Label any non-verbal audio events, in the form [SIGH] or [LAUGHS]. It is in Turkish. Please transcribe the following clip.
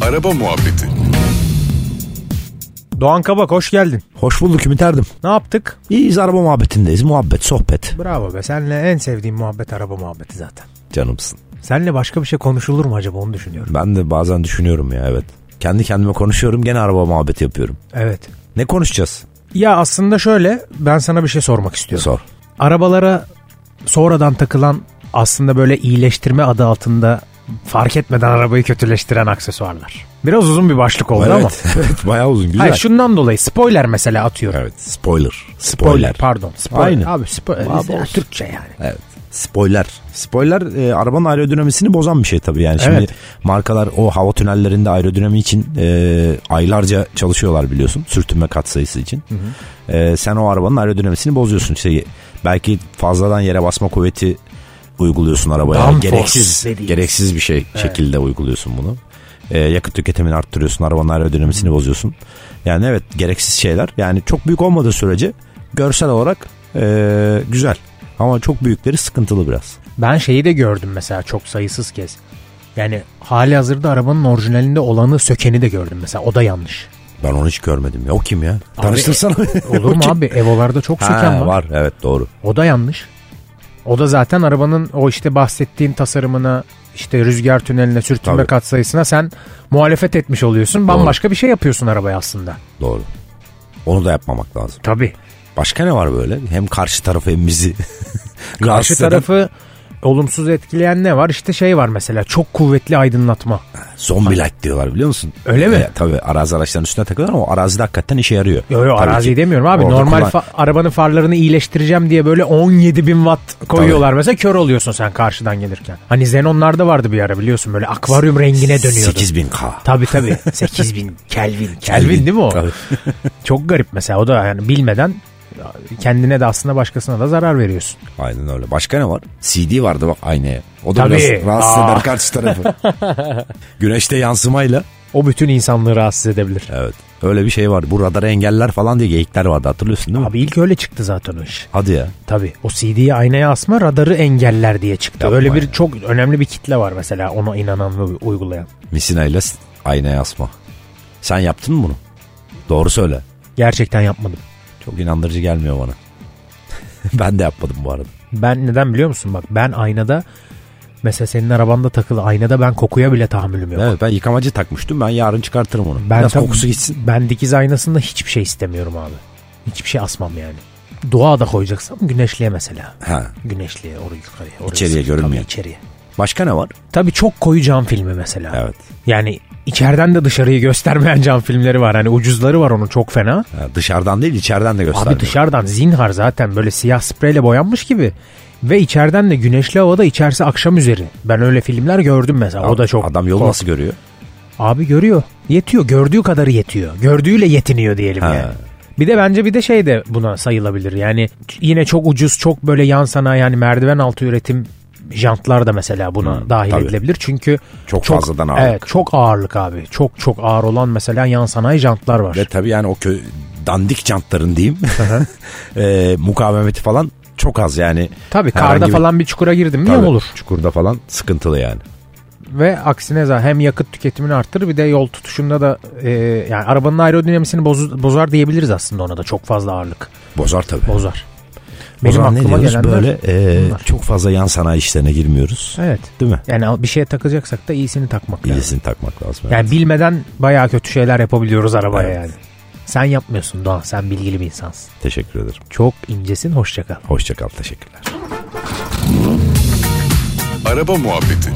Araba Muhabbeti Doğan Kabak hoş geldin. Hoş bulduk Ümit Erdim. Ne yaptık? İyiyiz araba muhabbetindeyiz. Muhabbet, sohbet. Bravo be. Seninle en sevdiğim muhabbet araba muhabbeti zaten. Canımsın. Seninle başka bir şey konuşulur mu acaba onu düşünüyorum. Ben de bazen düşünüyorum ya evet. Kendi kendime konuşuyorum gene araba muhabbeti yapıyorum. Evet. Ne konuşacağız? Ya aslında şöyle ben sana bir şey sormak istiyorum. Sor. Arabalara sonradan takılan aslında böyle iyileştirme adı altında fark etmeden arabayı kötüleştiren aksesuarlar. Biraz uzun bir başlık oldu ama. evet, [LAUGHS] evet bayağı uzun güzel. Hayır şundan dolayı spoiler mesela atıyorum. Evet spoiler. Spoiler. Pardon. Spoiler. Aynı. Abi e, spoiler. Abi, Türkçe yani. Evet. Spoiler. Spoiler e, arabanın aerodinamisini bozan bir şey tabii yani. Şimdi Evet. markalar o hava tünellerinde aerodinami için e, aylarca çalışıyorlar biliyorsun. Sürtünme katsayısı için. E, sen o arabanın aerodinamisini bozuyorsun. İşte belki fazladan yere basma kuvveti uyguluyorsun arabaya. Downforce gereksiz dediğimiz. gereksiz bir şey şekilde uyguluyorsun bunu. E, yakıt tüketimini arttırıyorsun. Arabanın aerodinamisini Hmm. bozuyorsun. Yani evet gereksiz şeyler. Yani çok büyük olmadığı sürece görsel olarak e, güzel. Ama çok büyükleri sıkıntılı biraz. Ben şeyi de gördüm mesela çok sayısız kez. Yani hali hazırda arabanın orijinalinde olanı sökeni de gördüm mesela. O da yanlış. Ben onu hiç görmedim ya. O kim ya? Abi, e, Tanıştırsana. Olur mu O kim? abi? Evolarda çok söken Ha, var. var evet doğru. O da yanlış. O da zaten arabanın o işte bahsettiğin tasarımına işte rüzgar tüneline sürtünme Tabii. katsayısına sen muhalefet etmiş oluyorsun. Bambaşka bir şey yapıyorsun arabaya aslında. Doğru. Onu da yapmamak lazım. Tabii. Başka ne var böyle? Hem karşı tarafı [LAUGHS] hem bizi. Karşı rahatsız eden tarafı olumsuz etkileyen ne var? İşte şey var mesela çok kuvvetli aydınlatma. Zombi light diyorlar biliyor musun? Öyle mi? E, tabii arazi araçların üstüne takıyorlar ama o arazide hakikaten işe yarıyor. Yo yo Tabii arazi ki. demiyorum abi. Orada Normal kullan- fa- arabanın farlarını iyileştireceğim diye böyle 17 bin watt koyuyorlar mesela kör oluyorsun sen karşıdan gelirken. Hani Xenon'larda vardı bir ara biliyorsun böyle akvaryum rengine dönüyordu. 8000K. Tabii [LAUGHS] tabii. 8000 Kelvin. Kelvin değil mi o? Tabii. Çok garip mesela o da yani bilmeden kendine de aslında başkasına da zarar veriyorsun. Aynen öyle. Başka ne var? CD vardı bak aynaya. O da Tabii. biraz rahatsız Aa. eder karşı tarafı. [LAUGHS] Güneşte yansımayla. O bütün insanlığı rahatsız edebilir. Evet. Öyle bir şey vardı. Bu radara engeller falan diye geyikler vardı hatırlıyorsun değil mi? Abi ilk öyle çıktı zaten o iş. Hadi ya. Tabii o CD'yi aynaya asma radarı engeller diye çıktı. Yapma öyle bir ya. çok önemli bir kitle var mesela ona inanan ve uygulayan. Misina ile aynaya asma. Sen yaptın mı bunu? Doğru söyle. Gerçekten yapmadım. Çok inandırıcı gelmiyor bana. [LAUGHS] ben de yapmadım bu arada. Ben neden biliyor musun? Bak ben aynada mesela senin arabanda takılı aynada ben kokuya bile tahammülüm yok. Evet ben yıkamacı takmıştım. Ben yarın çıkartırım onu. Ben Biraz tam- kokusu gitsin. Ben dikiz aynasında hiçbir şey istemiyorum abi. Hiçbir şey asmam yani. Doğa da koyacaksam güneşliğe mesela. Ha. Güneşliğe oraya yukarıya. Oraya İçeriye sıkı, görünmeyen. Tabii içeriye. Başka ne var? Tabii çok koyu cam filmi mesela. Evet. Yani içeriden de dışarıyı göstermeyen cam filmleri var. Hani ucuzları var onun çok fena. Ha, dışarıdan değil içeriden de göstermiyor. Abi dışarıdan zinhar zaten böyle siyah spreyle boyanmış gibi. Ve içeriden de güneşli havada içerisi akşam üzeri. Ben öyle filmler gördüm mesela. o da çok. Adam yolu nasıl görüyor? Abi görüyor. Yetiyor. Gördüğü kadarı yetiyor. Gördüğüyle yetiniyor diyelim Ha. yani. Bir de bence bir de şey de buna sayılabilir. Yani yine çok ucuz, çok böyle yan sanayi yani merdiven altı üretim jantlar da mesela buna Hmm, dahil tabii. edilebilir. Çünkü Çok fazladan ağırlık. Evet, çok ağırlık abi. Çok çok ağır olan mesela yan sanayi jantlar var. Ve tabii yani o kö dandik cantların diyeyim. [LAUGHS] Eee mukavemeti falan çok az yani. Tabii [LAUGHS] Herhangi karda bir- falan bir çukura girdim mi Tabii, yol olur. Çukurda falan sıkıntılı yani. Ve aksine zaten hem yakıt tüketimini arttırır bir de yol tutuşunda da e, yani arabanın aerodinamisini bozu- bozar diyebiliriz aslında ona da çok fazla ağırlık Bozar tabii. bozar. O Benim zaman ne aklıma diyoruz? gelenler Böyle eee, bunlar. çok fazla yan sanayi işlerine girmiyoruz. Evet. Değil mi? Yani al- bir şeye takacaksak da iyisini takmak lazım. İyisini takmak lazım. evet. Yani bilmeden bayağı kötü şeyler yapabiliyoruz arabaya Evet. yani. Sen yapmıyorsun Doğan. Sen bilgili bir insansın. Teşekkür ederim. Çok incesin. Hoşça kal. Hoşçakal. Teşekkürler. Araba Muhabbeti